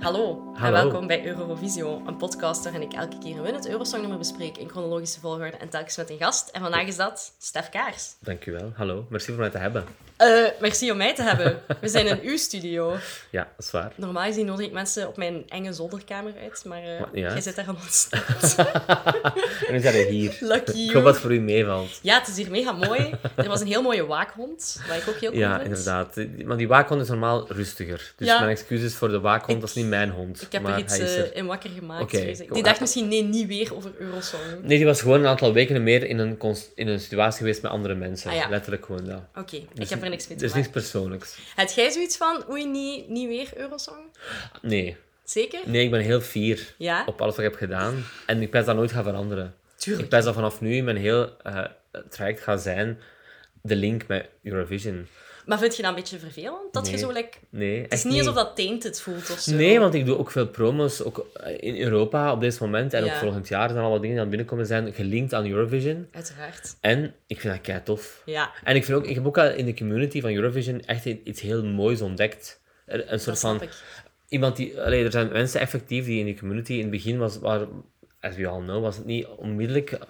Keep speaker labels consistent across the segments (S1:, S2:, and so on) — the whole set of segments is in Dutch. S1: Hallo, en
S2: Hallo.
S1: welkom bij Eurovisio, een podcast waarin ik elke keer een winnend Eurosongnummer bespreek in chronologische volgorde en telkens met een gast. En vandaag is dat Stef Kaars.
S2: Dankjewel. Hallo. Merci voor mij te hebben.
S1: Eh, merci om mij te hebben. We zijn in uw studio.
S2: Ja, dat is waar.
S1: Normaal gezien nodig ik mensen op mijn enge zolderkamer uit, maar eh,
S2: Maar niet uit.
S1: jij zit daar aan ons.
S2: En nu zijn we hier.
S1: Lucky
S2: Ik
S1: you.
S2: hoop wat voor u meevalt.
S1: Ja, het is hier mega mooi. Er was een heel mooie waakhond, wat ik ook heel cool
S2: Ja,
S1: vind.
S2: inderdaad. Maar die waakhond is normaal rustiger. Dus
S1: Ja.
S2: mijn excuses voor de waakhond, dat is niet mijn hond.
S1: Ik heb
S2: maar
S1: er iets
S2: hij is
S1: eh,
S2: er.
S1: in wakker gemaakt.
S2: Oké,
S1: vrees ik.
S2: kom
S1: Die
S2: maar.
S1: dacht misschien, nee, niet weer over Eurosong.
S2: Nee, die was gewoon een aantal weken meer in een, cons- in een situatie geweest met andere mensen.
S1: Ah, ja.
S2: Letterlijk gewoon dat.
S1: Oké,
S2: Dus
S1: ik heb er niks mee
S2: Het
S1: te
S2: is
S1: maken.
S2: niks persoonlijks.
S1: Heb jij zoiets van, oei, niet, niet weer Eurosong?
S2: Nee.
S1: Zeker?
S2: Nee, ik ben heel fier
S1: Ja?
S2: op alles wat ik heb gedaan. En ik pens dat nooit gaan veranderen. Ik
S1: Tuurlijk.
S2: pens dat vanaf nu in mijn heel eh, traject gaat zijn de link met Eurovision.
S1: Maar vind je dat een beetje vervelend? Dat je
S2: Nee.
S1: zo, like,
S2: Nee,
S1: het is niet alsof dat tainted voelt of zo.
S2: Nee, want ik doe ook veel promos, ook eh, in Europa op dit moment en ook
S1: Ja.
S2: volgend jaar zijn al wat dingen die aan het binnenkomen zijn gelinkt aan Eurovision.
S1: Uiteraard.
S2: En ik vind dat kei tof.
S1: Ja.
S2: En ik, vind ook, ik heb ook al in de community van Eurovision echt i- iets heel moois ontdekt. Er- Een
S1: Dat
S2: soort
S1: snap
S2: van
S1: ik.
S2: iemand die, allee, er zijn mensen effectief die in de community in het begin was, waar, as we all know, was het niet onmiddellijk eh,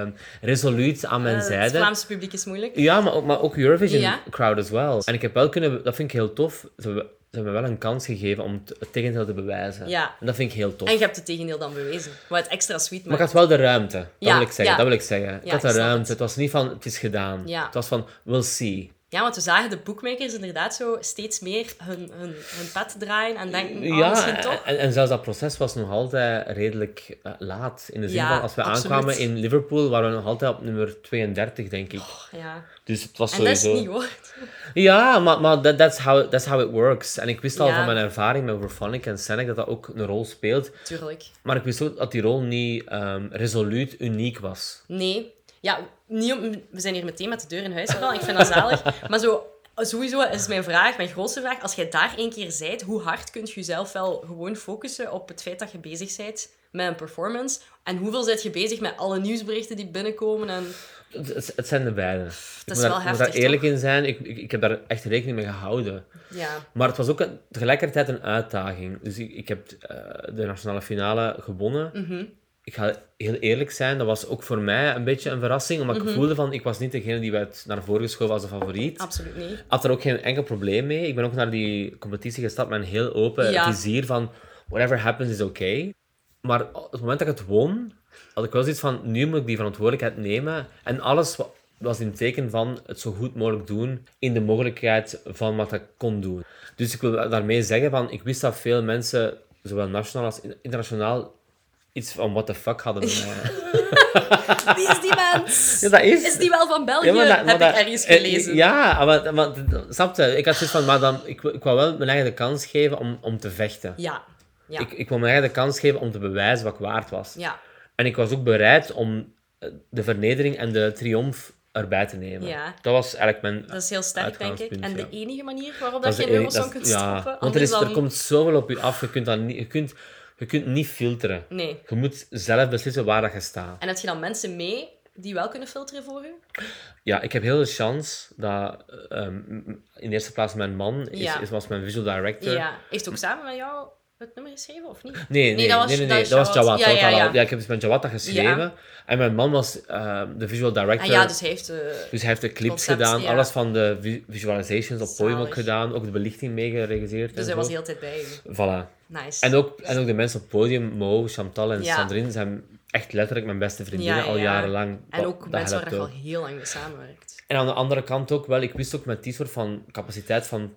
S2: eh, resoluut aan mijn
S1: Eh, het
S2: zijde.
S1: Vlaamse publiek is moeilijk.
S2: Ja, maar ook, maar ook Eurovision
S1: Ja.
S2: crowd as well. En ik heb wel kunnen, dat vind ik heel tof. Ze hebben, ze hebben me wel een kans gegeven om t- het tegendeel te bewijzen.
S1: Ja.
S2: En dat vind ik heel tof.
S1: En je hebt het tegendeel dan bewezen. Wat het extra sweet
S2: Maar
S1: maakt.
S2: ik had wel de ruimte. Dat
S1: Ja,
S2: wil ik zeggen.
S1: ja.
S2: Dat wil ik zeggen. ik
S1: Ja,
S2: had de
S1: ik snap
S2: ruimte.
S1: het.
S2: Het. was niet van het is gedaan.
S1: Ja.
S2: Het was van we'll see.
S1: Ja, want we zagen de bookmakers inderdaad zo steeds meer hun, hun, hun pet draaien en denken, oh, misschien toch.
S2: en, en zelfs dat proces was nog altijd redelijk eh, laat. In de zin
S1: Ja,
S2: van als we
S1: absoluut.
S2: aankwamen in Liverpool waren we nog altijd op nummer 32, denk ik.
S1: Ja.
S2: Dus het was
S1: En dat is
S2: sowieso.
S1: het niet hoor.
S2: Ja, maar, maar that, that's, how, that's how it works. En ik wist al
S1: Ja.
S2: van mijn ervaring met Verphonic en Senec dat dat ook een rol speelt.
S1: Tuurlijk.
S2: Maar ik wist ook dat die rol niet ehm, resoluut uniek was.
S1: Nee. Ja, niet om- we zijn hier meteen met de deur in huis gevallen. Ik vind dat zalig. Maar zo, sowieso is mijn vraag, mijn grootste vraag, als jij daar één keer zijt, hoe hard kun je jezelf wel gewoon focussen op het feit dat je bezig bent met een performance? En hoeveel zit je bezig met alle nieuwsberichten die binnenkomen? En...
S2: Het, het- het zijn de beide. ik moet
S1: wel
S2: daar, ik moet
S1: heftig,
S2: daar eerlijk in zijn. Ik, ik, ik heb daar echt rekening mee gehouden.
S1: Ja,
S2: Maar het was ook een- tegelijkertijd een uitdaging. Dus ik, ik heb eh, de nationale finale gewonnen.
S1: Mhm.
S2: Ik ga heel eerlijk zijn, dat was ook voor mij een beetje een verrassing. Omdat
S1: Mhm.
S2: ik voelde van, ik was niet degene die werd naar voren geschoven als de favoriet.
S1: absoluut niet.
S2: had er ook geen enkel probleem mee. Ik ben ook naar die competitie gestapt met een heel open
S1: Ja.
S2: vizier van whatever happens is oké. Maar op het moment dat ik het won, had ik wel zoiets van nu moet ik die verantwoordelijkheid nemen. En alles wa- was in het teken van het zo goed mogelijk doen in de mogelijkheid van wat ik kon doen. Dus ik wil daarmee zeggen van ik wist dat veel mensen, zowel nationaal als in- internationaal, iets van what the fuck hadden bij mij.
S1: Wie is die mens?
S2: Ja, dat is...
S1: Is die wel van België?
S2: Ja, maar dat-
S1: Heb
S2: maar dat-
S1: ik ergens
S2: eh,
S1: gelezen.
S2: ja, maar, maar snap je? Ik had zoiets van, maar dan, ik, wil- ik wou wel mijn eigen de kans geven om, om te vechten.
S1: Ja. Ja.
S2: Ik, ik wou mijn eigen de kans geven om te bewijzen wat ik waard was.
S1: ja.
S2: En ik was ook bereid om eh, de vernedering en de triomf erbij te nemen.
S1: Ja.
S2: Dat was eigenlijk mijn...
S1: Dat is heel sterk, denk ik. En
S2: Uitgangspunt,
S1: de
S2: ja.
S1: enige manier waarop
S2: dat
S1: dat je
S2: is de
S1: in
S2: enige-
S1: Eurosong
S2: dat is-
S1: kunt
S2: ja.
S1: stoppen.
S2: Want er, is,
S1: anders
S2: er
S1: dan-
S2: komt zoveel op je af, je kunt, dat niet, je kunt, je kunt niet filteren.
S1: Nee.
S2: Je moet zelf beslissen waar dat je staat.
S1: En heb je dan mensen mee die wel kunnen filteren voor je?
S2: Ja, ik heb heel de chance dat ehm, in eerste plaats mijn man is,
S1: Ja.
S2: is, was mijn visual director.
S1: Ja. Heeft ook samen met jou het nummer geschreven, of niet?
S2: Nee, nee, nee,
S1: dat
S2: dat
S1: was-
S2: was, nee, nee,
S1: dat
S2: dat
S1: is
S2: was
S1: Jawad.
S2: Jawad.
S1: Ja,
S2: Jawad
S1: ja,
S2: had-
S1: ja.
S2: ik heb dus met Jawad dat geschreven. En mijn man was ehm, de visual
S1: Ah
S2: director.
S1: ja,
S2: dus...
S1: dus hij heeft... eh,
S2: hij heeft de clips
S1: Concept,
S2: gedaan,
S1: ja.
S2: alles van de vi- visualizations op podium
S1: Zalig.
S2: ook gedaan, ook de belichting meegerealiseerd.
S1: dus
S2: en
S1: hij was
S2: zo.
S1: de hele tijd bij je.
S2: Voilà.
S1: Nice.
S2: En ook, en ook de mensen op podium, Mo, Chantal en
S1: Ja.
S2: Sandrine, zijn echt letterlijk mijn beste vriendinnen
S1: Ja, ja,
S2: al
S1: ja.
S2: jarenlang.
S1: En
S2: Dat-
S1: ook
S2: dat
S1: mensen waar
S2: helpt
S1: je al
S2: ook.
S1: heel lang mee samenwerkt.
S2: En aan de andere kant ook wel, ik wist ook met die soort van capaciteit van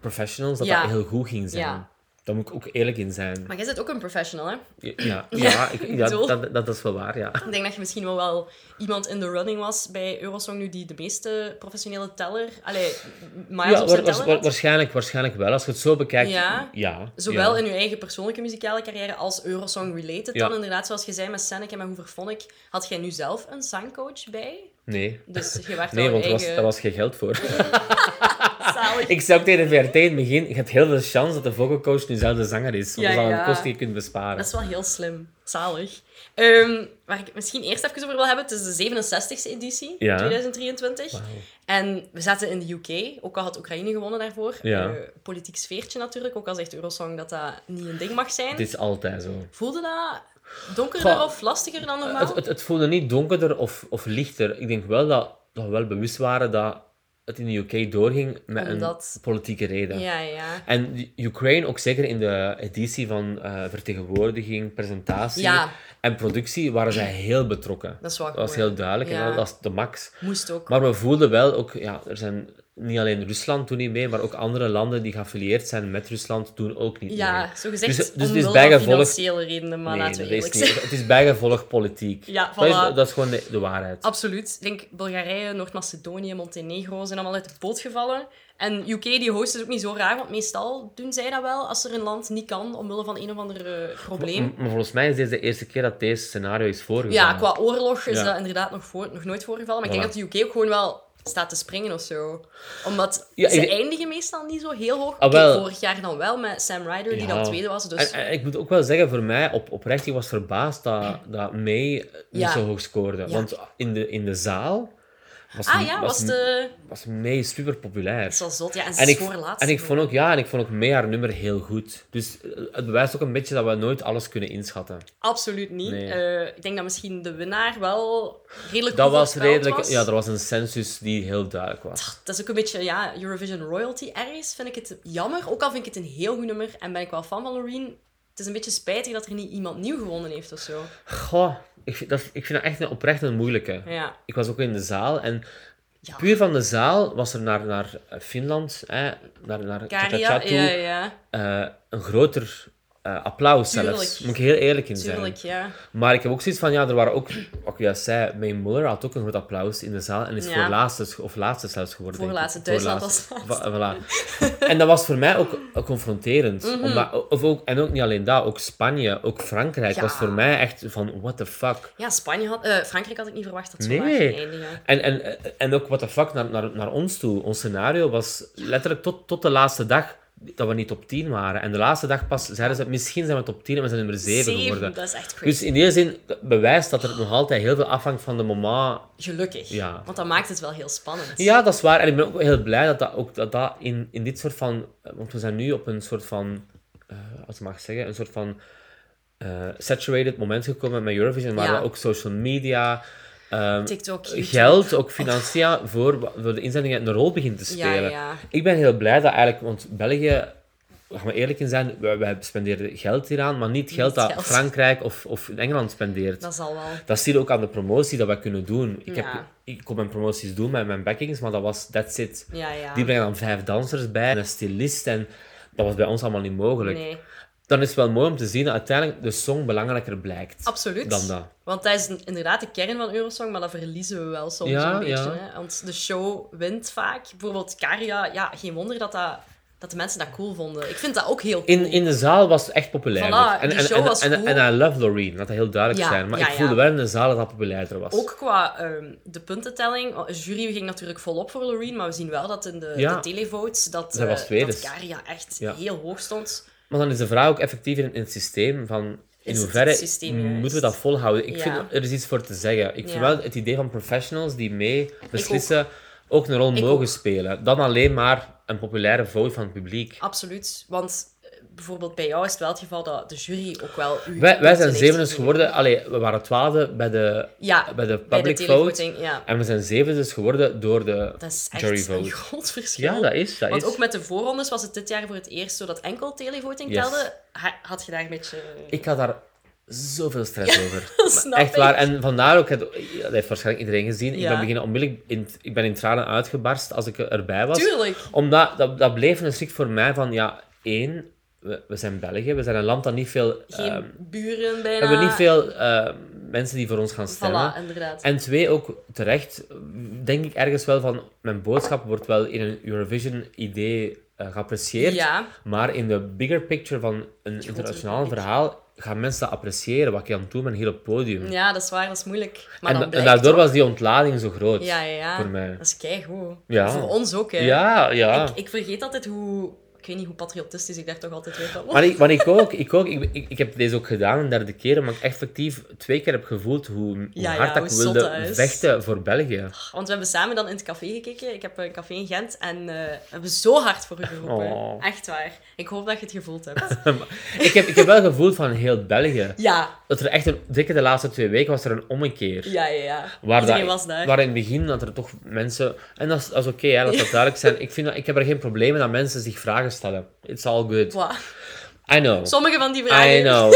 S2: professionals dat
S1: Ja.
S2: dat heel goed ging zijn.
S1: Ja.
S2: Daar moet ik ook eerlijk in zijn.
S1: Maar jij bent ook een professional, hè?
S2: Ja, ja,
S1: Ja,
S2: ik,
S1: ik
S2: ja,
S1: bedoel-
S2: dat, dat is wel waar, ja.
S1: Ik denk dat je misschien wel, wel iemand in de running was bij Eurosong nu die de meeste professionele teller... Allee, miles
S2: Ja,
S1: op zijn
S2: waar-
S1: teller
S2: waar-
S1: had.
S2: waarschijnlijk, waarschijnlijk wel. Als je het zo bekijkt,
S1: Ja.
S2: ja.
S1: Zowel
S2: ja.
S1: in je eigen persoonlijke muzikale carrière als Eurosong-related
S2: Ja.
S1: dan. Inderdaad, zoals je zei met Senneke en met Hoever Vonnik, had jij nu zelf een zangcoach bij?
S2: Nee.
S1: Dus je werd
S2: Nee,
S1: al
S2: want
S1: je
S2: er was,
S1: eigen...
S2: daar was geen geld voor.
S1: Zalig.
S2: ik zei ook tegen de VRT in het begin, je hebt heel veel chance dat de vogelcoach nu zelf de zanger is. Want
S1: Ja,
S2: dat is al
S1: ja.
S2: een kost die je kunt besparen.
S1: Dat is wel heel slim. Zalig. Ehm, waar ik het misschien eerst even over wil hebben, het is de 67e editie,
S2: Ja.
S1: 2023. En we zaten in de UK, ook al had Oekraïne gewonnen daarvoor.
S2: Ja.
S1: Eh, politiek sfeertje natuurlijk, ook al zegt Eurosong dat dat niet een ding mag zijn.
S2: Het is altijd zo.
S1: Voelde dat donkerder
S2: Goh,
S1: of lastiger dan normaal?
S2: Het, het, het voelde niet donkerder of, of lichter. Ik denk wel dat, dat we wel bewust waren dat het in de UK doorging met
S1: Omdat-
S2: een politieke reden.
S1: Ja, ja.
S2: En de- Ukraine, ook zeker in de editie van eh, vertegenwoordiging, presentatie
S1: Ja.
S2: en productie, waren zij heel betrokken.
S1: Dat is wel
S2: Dat was
S1: cool.
S2: heel duidelijk en
S1: Ja.
S2: dat was de max.
S1: Moest ook.
S2: Maar we voelden wel ook, ja, er zijn niet alleen Rusland toen niet mee, maar ook andere landen die geaffilieerd zijn met Rusland doen ook niet mee.
S1: ja, zo gezegd,
S2: Dus- dus
S1: dus,
S2: het is
S1: van
S2: bijgevolg-
S1: financiële redenen, maar
S2: Nee,
S1: laten we
S2: dat is
S1: eerlijk
S2: niet-
S1: zijn.
S2: Het is bijgevolg politiek.
S1: Ja,
S2: dat,
S1: voilà.
S2: is, dat is gewoon de, de waarheid.
S1: Absoluut. Ik denk Bulgarije, Noord-Macedonië, Montenegro zijn allemaal uit de boot gevallen. En UK, die host is ook niet zo raar, want meestal doen zij dat wel als er een land niet kan omwille van een of ander eh, probleem.
S2: M- Maar volgens mij is dit de eerste keer dat deze scenario is voorgegaan.
S1: Ja, qua oorlog is
S2: mm. Ja.
S1: dat inderdaad nog, voor, nog nooit voorgevallen. Maar ik denk
S2: Voilà.
S1: dat de UK ook gewoon wel staat te springen of zo. Omdat
S2: Ja, ik
S1: ze
S2: denk-
S1: eindigen meestal niet zo heel hoog.
S2: Ah, wel.
S1: Kijk, vorig jaar dan wel met Sam Ryder, die dan
S2: Ja.
S1: tweede was. Dus
S2: En, en ik moet ook wel zeggen, voor mij, op, oprecht, ik was verbaasd dat, dat May eh, niet
S1: Ja.
S2: zo hoog scoorde. Want in de, in de zaal was,
S1: ah ja, was,
S2: was,
S1: de...
S2: was May super populair.
S1: Dat is wel zot. Ja, en ze
S2: En
S1: is
S2: ik,
S1: voorlaatste.
S2: en ik vond ook, ja, en ik vond ook May haar nummer heel goed. Dus eh, het bewijst ook een beetje dat we nooit alles kunnen inschatten.
S1: Absoluut niet.
S2: Nee.
S1: Eh, ik denk dat misschien de winnaar wel redelijk
S2: Dat
S1: goed
S2: was
S1: voorspeld
S2: redelijk...
S1: was.
S2: Ja, er was een census die heel duidelijk was.
S1: Dat is ook een beetje ja, Eurovision royalty ergens. Vind ik het jammer. Ook al vind ik het een heel goed nummer en ben ik wel fan van Loreen. Het is een beetje spijtig dat er niet iemand nieuw gewonnen heeft of zo.
S2: Goh, ik vind dat, ik vind dat echt een, oprecht een moeilijke.
S1: Ja.
S2: Ik was ook in de zaal en
S1: Ja.
S2: puur van de zaal was er naar, naar eh, Finland, hè, naar, naar
S1: Karia,
S2: Tja-tja-tja toe,
S1: ja, ja.
S2: eh, een groter eh, applaus zelfs.
S1: Tuurlijk.
S2: Moet ik heel eerlijk in zijn.
S1: Tuurlijk, ja.
S2: Maar ik heb ook zoiets van, ja, er waren ook, wat ik juist zei, May Muller had ook een groot applaus in de zaal en is
S1: Ja.
S2: voor laatste, sch- of laatste zelfs geworden. denk ik.
S1: Voorlaatste, Duitsland
S2: Voorlaatste.
S1: was
S2: Va- voilà. En dat was voor mij ook ook confronterend.
S1: Mhm.
S2: Omdat- eh, of ook, en ook niet alleen dat, ook Spanje, ook Frankrijk
S1: Ja.
S2: was voor mij echt van, what the fuck.
S1: Ja, Spanje had... eh, Frankrijk had ik niet verwacht dat ze
S2: Nee.
S1: laag ging eindigen.
S2: En, en, en ook what the fuck naar, naar, naar ons toe. Ons scenario was letterlijk tot, tot de laatste dag dat we niet top 10 waren. En de laatste dag pas zeiden ze, misschien zijn we top 10 en we zijn nummer 7
S1: Zeven,
S2: geworden.
S1: dat is echt crazy.
S2: Dus in die zin bewijst dat er nog altijd heel veel afhangt van de moment.
S1: Gelukkig.
S2: Ja.
S1: Want dat maakt het wel heel spannend.
S2: Ja, dat is waar. En ik ben ook heel blij dat dat, ook, dat, dat in, in dit soort van... Want we zijn nu op een soort van, eh, als ik mag zeggen, een soort van eh, saturated moment gekomen met Eurovision. Waar
S1: Ja.
S2: we ook social media... ehm,
S1: TikTok, YouTube.
S2: geld, ook financieel, voor, voor de inzendingen een rol begint te spelen.
S1: ja.
S2: Ik ben heel blij dat eigenlijk, want België, laten we eerlijk in zijn, wij, wij spenderen geld hieraan, maar niet geld
S1: Niet
S2: dat
S1: geld.
S2: Frankrijk of, of Engeland spendeert. Dat...
S1: Dat zal wel.
S2: zie je ook aan de promotie dat wij kunnen doen. Ik, heb,
S1: Ja.
S2: ik kon mijn promoties doen met mijn backings, maar dat was that's it.
S1: Ja, ja.
S2: Die brengen dan vijf dansers bij en een stylist en dat was bij ons allemaal niet mogelijk.
S1: Nee,
S2: Dan is het wel mooi om te zien dat uiteindelijk de song belangrijker blijkt
S1: absoluut.
S2: dan dat.
S1: Want dat is inderdaad de kern van Eurosong, maar dat verliezen we wel soms
S2: Ja,
S1: een beetje.
S2: ja.
S1: Hè? Want de show wint vaak. Bijvoorbeeld Caria, ja, geen wonder dat, dat, dat de mensen dat cool vonden. Ik vind dat ook heel cool.
S2: In, in de zaal was het echt populairder.
S1: Voilà,
S2: en,
S1: die
S2: en,
S1: show
S2: en,
S1: was
S2: en,
S1: cool.
S2: en I love Loreen, laat dat heel duidelijk
S1: Ja,
S2: zijn. Maar
S1: ja,
S2: ik voelde
S1: ja.
S2: wel in de zaal dat dat populairder was.
S1: Ook qua ehm, de puntentelling. Oh, De jury ging natuurlijk volop voor Loreen, maar we zien wel dat in de,
S2: Ja.
S1: de televotes dat,
S2: Zij
S1: eh,
S2: was tweede.
S1: dat Caria echt
S2: Ja.
S1: heel hoog stond.
S2: Maar dan is de vraag ook effectief in, in het systeem van... In
S1: het
S2: hoeverre
S1: het systeem juist?
S2: moeten we dat volhouden? Ik
S1: Ja.
S2: vind, er is iets voor te zeggen. Ik
S1: Ja.
S2: vind wel het idee van professionals die mee beslissen ook. een rol mogen
S1: ook.
S2: spelen. Dan alleen maar een populaire vote van het
S1: Oh,
S2: publiek.
S1: Absoluut. Want eh, bijvoorbeeld bij jou is het wel het geval dat de jury ook wel... uw
S2: Wij, wij
S1: punten
S2: zijn
S1: heeft
S2: zevende
S1: gegeven.
S2: geworden. Allee, we waren twaalfde bij de,
S1: Ja,
S2: bij de
S1: bij de
S2: public vote.
S1: televoting. Ja.
S2: En we zijn zevende dus geworden door de
S1: Dat is echt
S2: jury
S1: een
S2: vote.
S1: groot verschil.
S2: Ja, dat is. Dat
S1: Want
S2: is.
S1: ook met de voorrondes was het dit jaar voor het eerst zo dat enkel televoting
S2: Yes.
S1: telde. Ha- had je daar een beetje...
S2: Ik had daar zoveel stress over.
S1: snap
S2: Echt
S1: ik.
S2: waar. En vandaar ook, het, dat heeft waarschijnlijk iedereen gezien, ik
S1: Ja.
S2: ben beginnen onmiddellijk in, ik ben in tranen uitgebarst als ik erbij was.
S1: Tuurlijk.
S2: Omdat dat, dat bleef een schrik voor mij van, ja, één, we, we zijn België, we zijn een land dat niet veel...
S1: Geen
S2: ehm,
S1: buren
S2: we
S1: bijna.
S2: hebben niet veel ehm, mensen die voor ons gaan stemmen.
S1: Voilà, inderdaad.
S2: En twee, ook terecht, denk ik ergens wel van, mijn boodschap wordt wel in een Eurovision-idee eh, geapprecieerd.
S1: Ja,
S2: Maar in de bigger picture van een internationaal
S1: picture.
S2: verhaal gaan mensen dat appreciëren, wat je aan het doen bent hier op het podium.
S1: ja, dat is waar, dat is moeilijk. Maar
S2: en,
S1: dan
S2: en
S1: blijkt
S2: daardoor
S1: toch-
S2: was die ontlading zo groot.
S1: Ja, ja, ja.
S2: voor mij.
S1: Dat is keigoed.
S2: Ja.
S1: Voor ons ook, hè.
S2: ja. ja.
S1: Ik, ik vergeet altijd hoe weet niet hoe patriotistisch ik daar toch altijd weer van
S2: Maar
S1: word.
S2: ik, maar ik ook, ik, ook ik, ik, ik heb deze ook gedaan een derde keer, maar ik effectief twee keer heb gevoeld hoe, hoe
S1: Ja,
S2: hard
S1: ja,
S2: ik
S1: hoe zot
S2: wilde
S1: dat is.
S2: vechten voor België.
S1: Want we hebben samen dan in het café gekeken. Ik heb een café in Gent en eh, we hebben zo hard voor u geroepen.
S2: Oh.
S1: Echt waar. Ik hoop dat je het gevoeld hebt.
S2: Ik heb, ik heb wel gevoeld van heel België.
S1: Ja,
S2: Dat er echt een, zeker de laatste twee weken was er een ommekeer.
S1: ja, ja. ja.
S2: Waar
S1: Iedereen
S2: dat-
S1: was daar.
S2: Waar in het begin dat er toch mensen... En dat is, dat is oké, hè, laat dat duidelijk zijn. Ik, vind dat, ik heb er geen probleem mee dat mensen zich vragen stellen. It's all good.
S1: Voilà.
S2: I know.
S1: Sommige van die vragen.
S2: I know.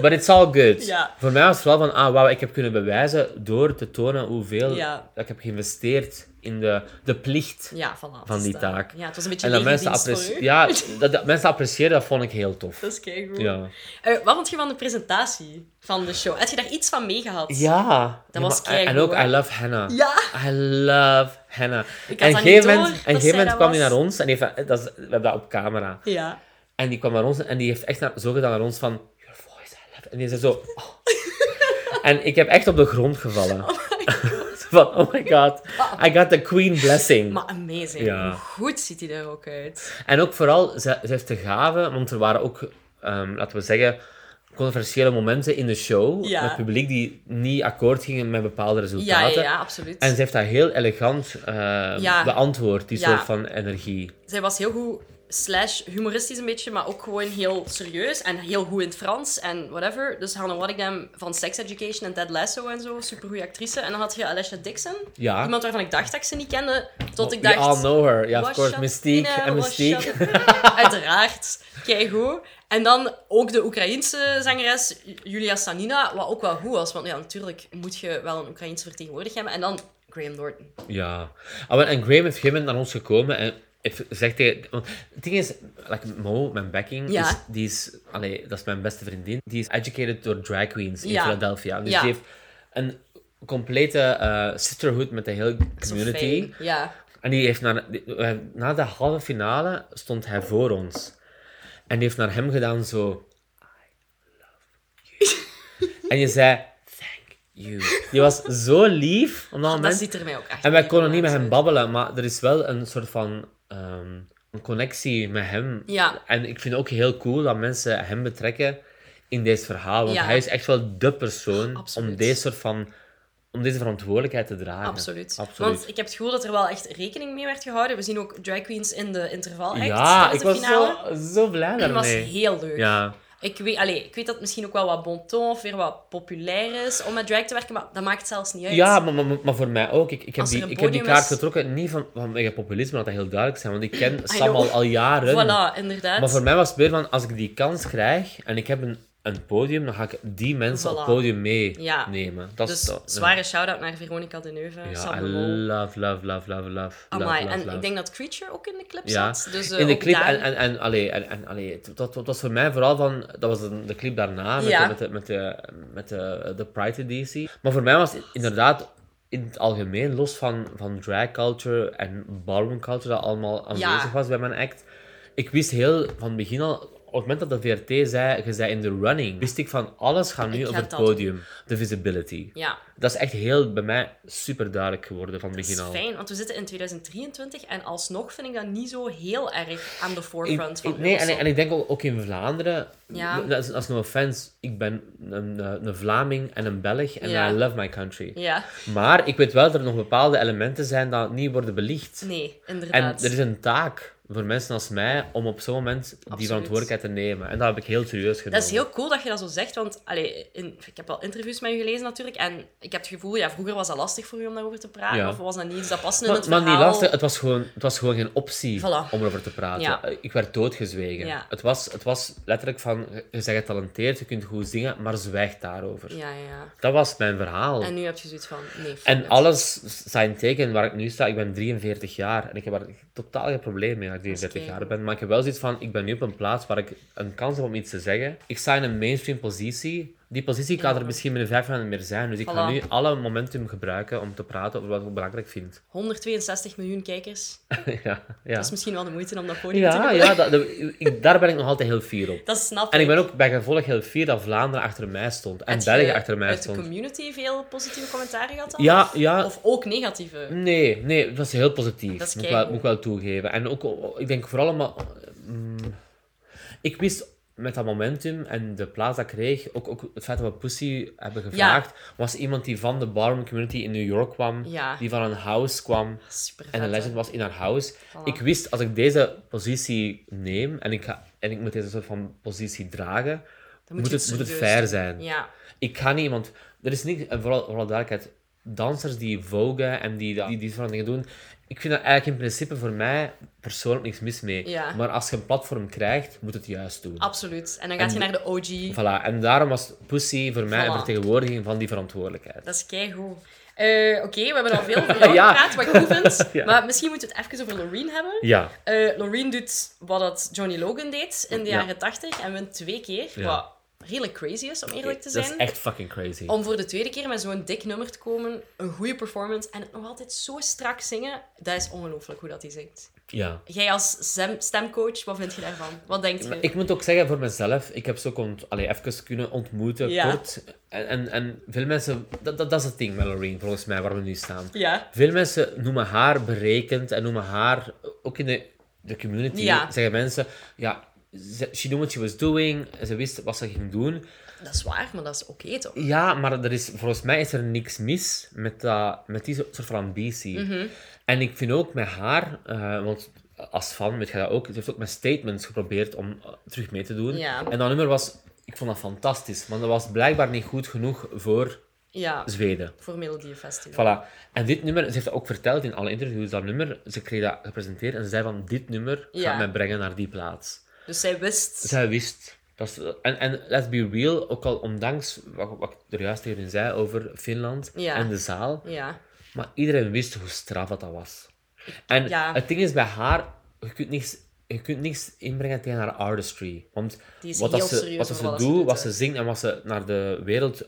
S2: But it's all good.
S1: Ja.
S2: Voor mij was het vooral van, ah, wauw, ik heb kunnen bewijzen door te tonen hoeveel
S1: Ja.
S2: dat ik heb geïnvesteerd in de, de plicht.
S1: Ja, voilà.
S2: Van die
S1: dus dat-
S2: taak.
S1: Ja, het was een beetje
S2: En dat mensen,
S1: appreciëren.
S2: appreci- ja, dat, dat mensen appreciëren, dat vond ik heel tof.
S1: Dat is keigoed.
S2: Ja.
S1: Eh, wat vond je van de presentatie van de show? Had je daar iets van meegehad?
S2: Ja.
S1: Dat
S2: Ja,
S1: was
S2: maar- En
S1: keigoed,
S2: ook,
S1: hè?
S2: I love Hannah.
S1: Ja.
S2: I love Hannah.
S1: Ik had
S2: en
S1: dat
S2: gegeven
S1: niet door, dat
S2: moment, en
S1: zij
S2: gegeven moment
S1: dat
S2: kwam hij
S1: was.
S2: naar ons en heeft, dat is, we hebben dat op camera.
S1: Ja.
S2: En die kwam naar ons en die heeft echt naar, zo gedaan naar ons van, your voice, I love it." En die zei zo, "Oh." En ik heb echt op de grond gevallen.
S1: Oh
S2: van, oh my god, I got the queen blessing.
S1: Ah. Maar amazing.
S2: Ja.
S1: Hoe goed ziet hij er ook uit.
S2: En ook vooral, ze, ze heeft de gave, want er waren ook, ehm, laten we zeggen, controversiële momenten in de show.
S1: Ja.
S2: Met het publiek die niet akkoord gingen met bepaalde
S1: Ja, ja,
S2: resultaten.
S1: ja, absoluut.
S2: En ze heeft dat heel elegant eh,
S1: Ja.
S2: beantwoord, die
S1: Ja.
S2: soort van energie.
S1: Zij was heel goed, slash humoristisch een beetje, maar ook gewoon heel serieus en heel goed in het Frans en whatever. Dus Hannah Waddingham van Sex Education en Ted Lasso en zo, supergoeie actrice. En dan had je Alessia Dixon,
S2: Ja.
S1: iemand waarvan ik dacht dat ik ze niet kende, tot ik
S2: We
S1: dacht...
S2: all know her. Ja,
S1: was
S2: of course.
S1: Shant-
S2: Mystique
S1: Nee,
S2: en
S1: was
S2: Mystique.
S1: Shant- Uiteraard. Keigoed. En dan ook de Oekraïense zangeres Julia Sanina, wat ook wel goed was. Want ja, natuurlijk moet je wel een Oekraïense vertegenwoordiger hebben. En dan Graham Norton.
S2: Ja. Ah, wel, en Graham heeft geen moment naar ons gekomen en heeft gezegd tegen... Want het ding is, like Mo, mijn backing,
S1: Ja.
S2: is, die is... Allee, dat is mijn beste vriendin. Die is educated door drag queens in
S1: Ja.
S2: Philadelphia. Dus
S1: Ja.
S2: die heeft een complete eh, sisterhood met de hele
S1: Zo
S2: community.
S1: fijn. Ja.
S2: En die heeft naar, die- eh, na de halve finale stond hij voor ons. En die heeft naar hem gedaan zo... I love you. en je zei... Thank you. Die was zo lief op dat
S1: Dat
S2: moment.
S1: ziet er mij ook echt
S2: En wij
S1: heel
S2: konden niet met
S1: uit.
S2: hem babbelen, maar er is wel een soort van ehm, een connectie met hem.
S1: Ja.
S2: En ik vind het ook heel cool dat mensen hem betrekken in dit verhaal. Want
S1: Ja.
S2: hij is echt wel de persoon
S1: Absoluut.
S2: om deze soort van om deze verantwoordelijkheid te dragen.
S1: Absoluut.
S2: Absoluut.
S1: Want ik heb het gevoel dat er wel echt rekening mee werd gehouden. We zien ook drag queens in de interval act,
S2: ja,
S1: tijdens
S2: ik
S1: de
S2: was
S1: finale.
S2: zo, zo blij
S1: Die was
S2: daarmee.
S1: heel leuk.
S2: Ja,
S1: Ik weet, allee, ik weet dat het misschien ook wel wat bon ton of weer wat populair is om met drag te werken, maar dat maakt zelfs niet uit.
S2: ja maar, maar, maar voor mij ook. Ik, ik, heb,
S1: Als er
S2: die,
S1: een
S2: ik heb die
S1: podium
S2: kaart
S1: is-
S2: getrokken, niet van, vanwege populisme, laat dat heel duidelijk zijn. Want ik ken Sam
S1: know.
S2: al, al jaren.
S1: Voilà, inderdaad.
S2: dus- Maar voor mij was het meer van, als ik die kans krijg en ik heb een, een podium, dan ga ik die mensen op
S1: Voilà.
S2: het podium
S1: Ja.
S2: meenemen. Dat
S1: dus
S2: is dat.
S1: zware shout-out naar Veronica de Neuve,
S2: Ja, I
S1: Sam de Mol.
S2: love, love, love, love, love, love,
S1: Amai,
S2: love,
S1: en
S2: love.
S1: ik denk dat Creature ook in de clip
S2: ja.
S1: zat. Dus, eh,
S2: in de
S1: ook
S2: clip,
S1: daar-
S2: en, en, en, allee, en, en allee, het, dat, dat was voor mij vooral van, dat was een- de clip daarna, met,
S1: Ja.
S2: de, met, de, met, de, met de, de Pride editie. Maar voor mij was het inderdaad in het algemeen, los van, van drag culture en ballroom culture, dat allemaal
S1: Ja.
S2: aanwezig was bij mijn act. Ik wist heel van het begin al, op het moment dat de VRT zei, je zei in de running, wist ik van alles gaat nu
S1: Ik
S2: op
S1: ga
S2: het
S1: dat doen.
S2: podium. De visibility.
S1: Ja,
S2: Dat is echt heel bij mij super duidelijk geworden van het
S1: dat is
S2: begin al.
S1: fijn, want we zitten in 2023 en alsnog vind ik dat niet zo heel erg aan de forefront
S2: Ik-
S1: van
S2: ik- nee, en,
S1: Eurosong.
S2: en ik denk ook, ook in Vlaanderen,
S1: Ja.
S2: dat, is, dat is no offense, ik ben een, eh, een Vlaming en een Belg en
S1: Ja.
S2: I love my country.
S1: Ja,
S2: Maar ik weet wel dat er nog bepaalde elementen zijn dat niet worden belicht.
S1: nee,
S2: en
S1: inderdaad.
S2: er is een taak voor mensen als mij om op zo'n moment die verantwoordelijkheid te nemen. En dat heb ik heel serieus gedaan.
S1: Dat is heel cool dat je dat zo zegt, want allee, in- ik heb wel interviews met je gelezen natuurlijk. En ik heb het gevoel, ja, vroeger was dat lastig voor u om daarover te praten.
S2: Ja.
S1: Of was dat niet iets dat paste in
S2: maar,
S1: het
S2: maar
S1: verhaal?
S2: niet lastig, het was gewoon, het was gewoon geen optie
S1: Voilà.
S2: om erover te praten.
S1: Ja.
S2: Eh, Ik werd doodgezwegen.
S1: Ja.
S2: Het, was, het was letterlijk van, je bent getalenteerd, je kunt goed zingen, maar zwijg daarover.
S1: Ja, ja, ja.
S2: Dat was mijn verhaal.
S1: En nu heb je zoiets van, nee. fuck
S2: En
S1: it.
S2: alles zijn teken waar ik nu sta. Ik ben 43 jaar en ik heb er totaal geen probleem mee dat ik
S1: is
S2: 43
S1: keigoed.
S2: jaar ben. Maar ik heb wel zoiets van, ik ben nu op een plaats waar ik een kans heb om iets te zeggen. Ik sta in een mainstream positie. Die positie kan er misschien binnen vijf jaar niet meer zijn. Dus ik ga
S1: Voilà.
S2: nu alle momentum gebruiken om te praten over wat ik belangrijk vind.
S1: 162 miljoen kijkers.
S2: ja, ja.
S1: Dat is misschien wel de moeite om dat podium te
S2: Ja,
S1: gebruiken.
S2: ja dat, dat- ik- daar ben ik nog altijd heel fier op.
S1: Dat snap
S2: En ik ben ook bij gevolg heel fier dat Vlaanderen achter mij stond. En
S1: Heb je
S2: België achter mij
S1: uit de
S2: stond.
S1: community veel positieve commentaren gehad dan?
S2: Ja, Mm. ja,
S1: Of ook negatieve?
S2: Nee, nee, het was heel positief.
S1: Dat is
S2: moet, ik wel,
S1: keigoed.
S2: moet ik wel toegeven. En ook, oh, ik denk vooral omdat mm, ik wist met dat momentum en de plaats dat ik kreeg, ook, ook het feit dat we Pussy hebben gevraagd, was iemand die van de barroom community in New York kwam,
S1: Ja.
S2: die van een house kwam
S1: Super
S2: en een legend was in haar house.
S1: Voilà.
S2: Ik wist, als ik deze positie neem en ik, ga, en ik moet deze soort van positie dragen, moet,
S1: je
S2: het, moet het
S1: serieus
S2: fair
S1: doen.
S2: zijn.
S1: Ja.
S2: Ik ga niet iemand... Er is niks... En vooral, vooral duidelijkheid. Dansers die vogen en die die, die soort van dingen doen... Ik vind daar eigenlijk in principe voor mij persoonlijk niks mis mee.
S1: Ja.
S2: Maar als je een platform krijgt, moet het juist doen.
S1: Absoluut. En dan gaat je naar de OG.
S2: Voilà. En daarom was Pussy voor mij een
S1: Voilà.
S2: vertegenwoordiging van die verantwoordelijkheid.
S1: Dat is keigoed. Eh, Oké, we hebben al veel over jou
S2: Ja.
S1: gepraat, wat ik goed vind.
S2: Ja.
S1: Maar misschien moeten we het even over Loreen hebben.
S2: Ja.
S1: Eh Loreen doet wat dat Johnny Logan deed in de
S2: Ja.
S1: jaren 80 en wint twee keer.
S2: Ja.
S1: Wat redelijk crazy is, om eerlijk te
S2: Dat
S1: zijn.
S2: is echt fucking crazy.
S1: Om voor de tweede keer met zo'n dik nummer te komen, een goede performance en het nog altijd zo strak zingen, dat is ongelooflijk hoe dat hij zingt.
S2: Ja.
S1: Jij als stem- stemcoach, wat vind je daarvan? Wat denk je?
S2: Maar ik moet ook zeggen voor mezelf, ik heb ze ook ont, allee, even kunnen ontmoeten,
S1: Ja.
S2: kort. En, en, en veel mensen, dat, dat, dat is het ding met Loreen, volgens mij, waar we nu staan.
S1: Ja.
S2: Veel mensen noemen haar berekend en noemen haar, ook in de, de community,
S1: Ja.
S2: zeggen mensen, ja, ze- she knew what she was doing, en ze wist wat ze ging doen.
S1: Dat is waar, maar dat is oké toch?
S2: Ja, maar er is, volgens mij is er niks mis met, dat, met die soort soort van ambitie.
S1: Mhm.
S2: En ik vind ook met haar, eh, want als fan weet je dat ook, ze heeft ook met statements geprobeerd om eh, terug mee te doen.
S1: Ja.
S2: En dat nummer was, ik vond dat fantastisch, want dat was blijkbaar niet goed genoeg voor
S1: Ja,
S2: Zweden.
S1: voor Melodiefestival.
S2: Voilà. En dit nummer, ze heeft dat ook verteld in alle interviews, dat nummer, ze kreeg dat gepresenteerd en ze zei van, dit nummer
S1: Ja.
S2: gaat mij brengen naar die plaats.
S1: Dus zij wist...
S2: Zij wist. Dat is, en, en let's be real, ook al ondanks wat, wat ik er juist tegen zei over Finland
S1: Ja.
S2: en de zaal,
S1: Ja.
S2: maar iedereen wist hoe straf dat dat was. En
S1: Ja.
S2: het ding is bij haar, je kunt niks, je kunt niks inbrengen tegen haar artistry. Want
S1: Die is
S2: wat, dat
S1: heel
S2: ze,
S1: serieus
S2: wat dat
S1: over
S2: ze
S1: wat ze
S2: doet,
S1: doet,
S2: wat
S1: hè.
S2: ze zingt en wat ze naar de wereld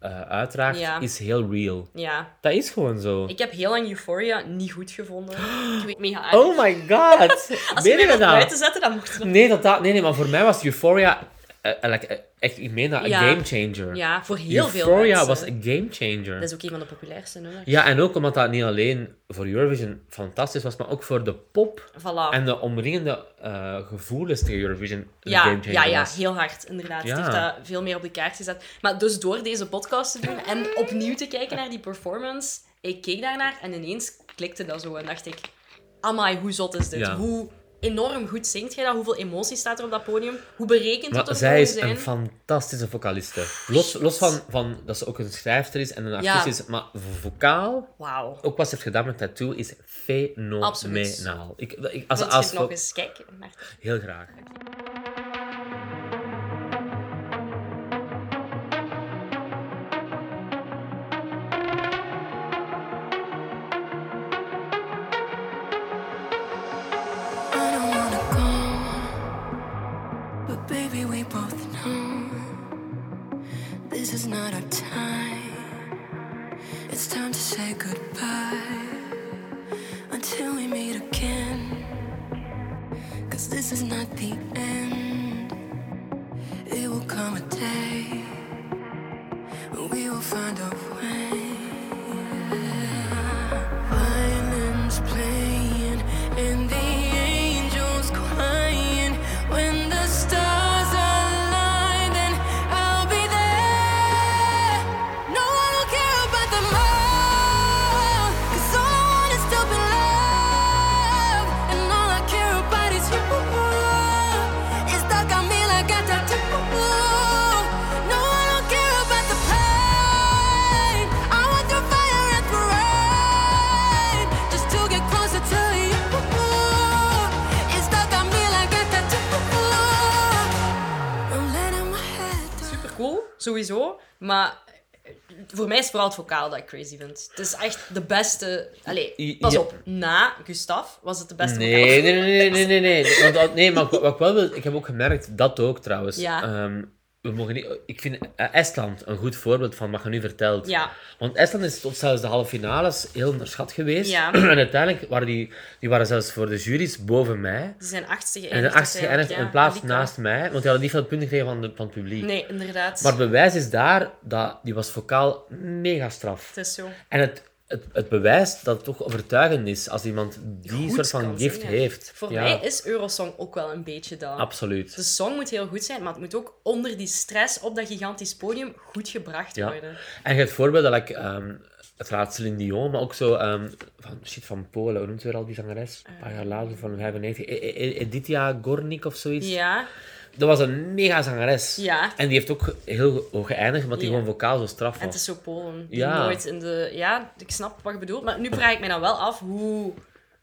S2: eh, uitdraagt,
S1: Ja.
S2: is heel real.
S1: Ja.
S2: Dat is gewoon zo.
S1: Ik heb heel lang Euphoria niet goed gevonden. Ik weet mega aardig.
S2: Oh my god!
S1: Als je
S2: Meen
S1: mij
S2: je
S1: wilt
S2: dat?
S1: buiten zetten, dan mocht het.
S2: Nee, dat, dat, nee, nee, maar voor mij was Euphoria eh, eh, like, eh, echt, ik meen dat, een
S1: Ja.
S2: gamechanger.
S1: Ja, voor heel veel
S2: Euphoria
S1: mensen.
S2: was een gamechanger.
S1: Dat is ook een van de populairste nummers.
S2: Ja, en ook omdat dat niet alleen voor Eurovision fantastisch was, maar ook voor de pop
S1: Voilà.
S2: en de omringende eh, gevoelens tegen Eurovision een
S1: Ja,
S2: gamechanger
S1: ja, ja,
S2: was.
S1: heel hard, inderdaad.
S2: Ja.
S1: Het heeft dat veel meer op de kaart gezet. Maar dus door deze podcast te doen en opnieuw te kijken naar die performance, ik keek daarnaar en ineens klikte dat zo en dacht ik, amai, hoe zot is dit?
S2: Ja.
S1: Hoe enorm goed zingt jij dat? Hoeveel emotie staat er op dat podium? Hoe berekend dat
S2: Maar
S1: het
S2: zij
S1: zou
S2: is
S1: zijn?
S2: een fantastische vocaliste. Los, los van, van dat ze ook een schrijfster is en een
S1: Ja.
S2: artiest is, maar vo- vocaal,
S1: Wauw.
S2: ook wat ze heeft gedaan met Tattoo, is fenomenaal. Ik, ik, als,
S1: Wil je
S2: als,
S1: het nog eens kijken? Maarten?
S2: Heel graag.
S3: I don't wanna go, but baby, we both know this is not our time. It's time to say goodbye until we meet again. Cause this is not the end. It will come a day when we will find our way. Violins playing and the angels crying. When the stars align, then I'll be there. No, I don't care about them all. 'Cause all I want is to be loved. And all I care about is you. It's stuck on me like a tattoo. No, I don't care about the pain. I want your fire and parade just to get closer to you. It's stuck on me like a tattoo. I'm letting my head down.
S1: Super cool, sowieso. Maar eh, voor mij is vooral het vocaal dat ik crazy vind. Het is echt de beste... Allee,
S2: I-
S1: pas
S2: ja.
S1: op. Na Gustaf was het de beste vocaal.
S2: Nee, nee, nee, nee, nee, nee, nee. Want, dat- nee maar wat wat ik wel wil, ik heb ook gemerkt, dat ook trouwens.
S1: Ja.
S2: Ehm, we mogen niet, ik vind eh, Estland een goed voorbeeld van wat je nu vertelt.
S1: Ja.
S2: Want Estland is tot zelfs de halve finales heel onderschat geweest.
S1: Ja.
S2: En uiteindelijk waren die, die waren zelfs voor de jury's boven mij.
S1: Die zijn achtste
S2: En de
S1: geëindigd.
S2: achtste
S1: uiteindelijk,
S2: geëindigd in
S1: ja.
S2: plaats
S1: Ja, die
S2: naast mij, want die hadden niet veel punten gekregen van, de, van het publiek.
S1: kan. Nee, inderdaad.
S2: Maar bewijs is daar dat die was vocaal mega straf.
S1: Het is zo.
S2: En het, het, het bewijst dat het toch overtuigend is als iemand die
S1: goed
S2: soort van
S1: kan
S2: gift
S1: zingen.
S2: heeft.
S1: Voor
S2: Ja,
S1: mij is dus Eurosong ook wel een beetje dat.
S2: Absoluut.
S1: De song moet heel goed zijn, maar het moet ook onder die stress op dat gigantisch podium goed gebracht
S2: Ja.
S1: worden.
S2: En het voorbeeld dat ik... ehm het laatste Celine Dion, maar ook zo ehm, van, shit, van Polen, hoe noemt ze weer al die zangeres? Een paar jaar later, van 95, E- E- E- Editha Gornik of zoiets.
S1: Ja,
S2: Dat was een mega zangeres.
S1: Ja.
S2: En die heeft ook heel hoog geëindigd, omdat die
S1: Ja.
S2: gewoon vocaal zo straf
S1: en het
S2: was.
S1: is zo Polen. Die
S2: Ja.
S1: Nooit in de... Ja, ik snap wat je bedoelt, maar nu vraag ik mij dan wel af hoe...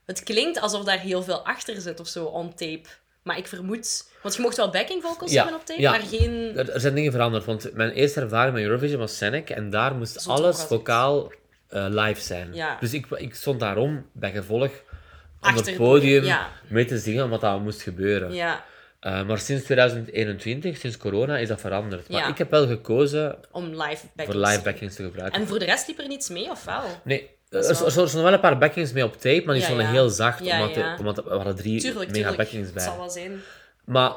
S1: Het klinkt alsof daar heel veel achter zit of zo, on tape. Maar ik vermoed... Want je mocht wel backing vocals
S2: Ja,
S1: hebben op tape,
S2: ja.
S1: maar geen...
S2: Er, er zijn dingen veranderd, want mijn eerste ervaring met Eurovision was Senek en daar moest
S1: Zot
S2: alles
S1: ook wel
S2: vocaal eh, live zijn.
S1: Ja.
S2: Dus ik, ik stond daarom bij gevolg op
S1: Achter
S2: het
S1: het
S2: podium
S1: podium, ja.
S2: mee te zingen wat daar moest gebeuren.
S1: Ja,
S2: Eh, maar sinds 2021, sinds corona, is dat veranderd. Maar
S1: Ja.
S2: ik heb wel gekozen
S1: om live backings.
S2: voor live backings te gebruiken.
S1: En voor de rest liep er niets mee, of wel?
S2: Nee, er,
S1: Dat is
S2: er
S1: wel-
S2: stonden wel een paar backings mee op tape, maar die
S1: Ja,
S2: stonden
S1: ja.
S2: heel zacht,
S1: Ja,
S2: omdat,
S1: ja.
S2: De, omdat er waren drie
S1: Tuurlijk,
S2: mega
S1: tuurlijk.
S2: backings bij.
S1: Het zal wel zijn.
S2: Maar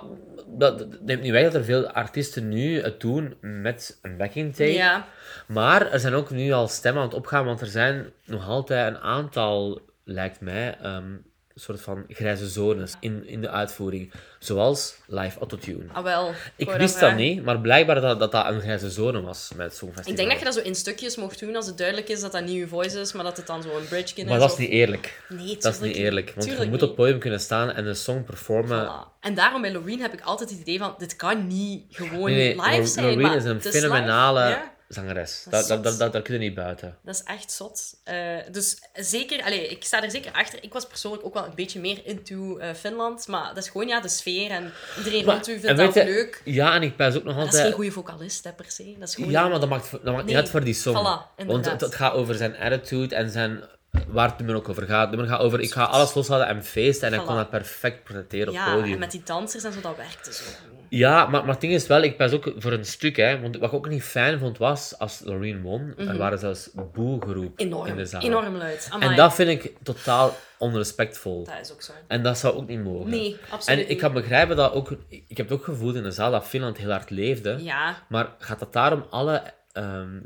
S2: dat dat neemt niet weg dat er veel artiesten nu het doen met een backing tape.
S1: Ja.
S2: Maar er zijn ook nu al stemmen aan het opgaan, want er zijn nog altijd een aantal, lijkt mij, ehm soort van grijze zones in, in de uitvoering. Zoals live autotune.
S1: Ah, wel.
S2: Ik
S1: wou
S2: wist dat
S1: vragen.
S2: niet, maar blijkbaar dat dat, dat een grijze zone was met het Songfestival.
S1: Ik denk dat je dat zo in stukjes mocht doen als het duidelijk is dat dat niet uw voice is, maar dat het dan zo een bridge is.
S2: Maar dat is
S1: of-
S2: niet eerlijk.
S1: Nee,
S2: Dat is
S1: tuurlijk
S2: niet eerlijk, want
S1: Tuurlijk
S2: je moet
S1: niet.
S2: op het podium kunnen staan en een song performen.
S1: Voilà. En daarom bij Loreen heb ik altijd het idee van, dit kan niet gewoon
S2: Nee, nee,
S1: live
S2: Lor-
S1: zijn.
S2: Loreen
S1: maar
S2: is een
S1: het live.
S2: fenomenale
S1: Ja,
S2: zangeres.
S1: Dat
S2: Daar
S1: is
S2: daar- daar-
S1: zot.
S2: daar- daar kun je niet buiten.
S1: dat is echt zot. Eh, dus zeker, allee, ik sta er zeker achter. Ik was persoonlijk ook wel een beetje meer into eh, Finland, maar dat is gewoon ja, de sfeer en iedereen rond u
S2: en
S1: vindt
S2: weet
S1: dat
S2: je-
S1: leuk.
S2: Ja, en ik pijs ook nog
S1: Dat is geen
S2: altijd...
S1: goede vocalist, hè, per se. Dat is gewoon...
S2: Ja, maar dat maakt, dat maakt niet
S1: Nee.
S2: uit voor die song.
S1: Voilà, inderdaad.
S2: Want het, het gaat over zijn attitude en zijn... Waar het nummer ook over gaat. Het nummer gaat over, ik ga alles loslaten en feesten. En ik
S1: Voilà.
S2: kon dat perfect presenteren op
S1: Ja,
S2: het podium.
S1: en met die dansers en zo, dat werkte zo.
S2: Ja, maar, maar het ding is wel, ik pas ook voor een stuk, hè. Want wat ik ook niet fijn vond, was als Loreen won, er waren zelfs boegeroep in
S1: Mhm. Enorm,
S2: de zaal.
S1: enorm luid. Amai.
S2: En dat vind ik totaal onrespectvol.
S1: Dat is ook zo.
S2: En dat zou ook niet mogen.
S1: Nee, absoluut
S2: En ik
S1: niet.
S2: kan begrijpen dat ook... Ik heb het ook gevoeld in de zaal dat Finland heel hard leefde.
S1: Ja,
S2: Maar gaat dat daarom alle ehm,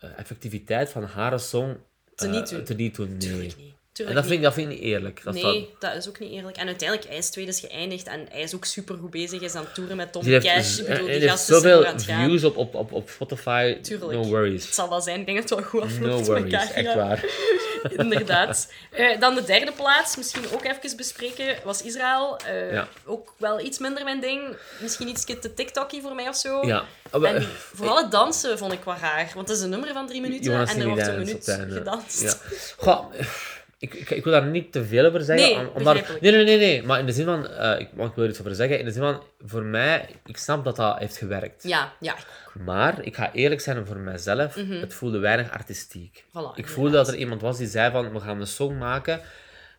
S2: eh, effectiviteit van haar song eh,
S1: Teniet doen.
S2: teniet doen? Nee.
S1: tuurlijk niet. Tuurlijk
S2: En dat
S1: niet.
S2: vind, ik, dat vind ik niet eerlijk. Dat is
S1: nee,
S2: dat-
S1: dat... is ook niet eerlijk. En uiteindelijk, hij is tweede is geëindigd en hij is ook supergoed bezig. Hij is aan het toeren met Tom
S2: die heeft,
S1: Cash.
S2: z-
S1: Ik bedoel,
S2: en
S1: die
S2: die heeft
S1: gast is ervoor aan
S2: zoveel
S1: het gaan.
S2: views op, op, op, op Spotify.
S1: Tuurlijk.
S2: No
S1: Het
S2: worries.
S1: zal wel zijn, ik denk dat het wel goed afloopt
S2: No
S1: met
S2: worries,
S1: elkaar.
S2: echt
S1: ja.
S2: waar.
S1: Inderdaad. Eh, dan de derde plaats, misschien ook even bespreken, was Israël. Eh,
S2: Ja.
S1: Ook wel iets minder mijn ding. Misschien iets te TikTokie voor mij of zo.
S2: Ja.
S1: Oh.
S2: Oh, eh,
S1: En vooral het dansen vond ik wel raar, want het is een nummer van drie minuten
S2: Jonas
S1: en er
S2: Sinidens
S1: wordt een
S2: op
S1: minuut
S2: het einde.
S1: gedanst.
S2: Ja. Goh, ik, ik, ik wil daar niet te veel over zeggen.
S1: Nee,
S2: om- omdat-
S1: begrijpelijk.
S2: nee, nee, nee, nee. Maar in de zin van, eh, ik, want ik wil er iets over zeggen. In de zin van, voor mij, ik snap dat dat heeft gewerkt.
S1: Ja, ja,
S2: Maar ik ga eerlijk zijn voor mezelf, het voelde weinig artistiek.
S1: Mhm. Voilà,
S2: ik voelde dat er iemand was die zei van, we gaan een song maken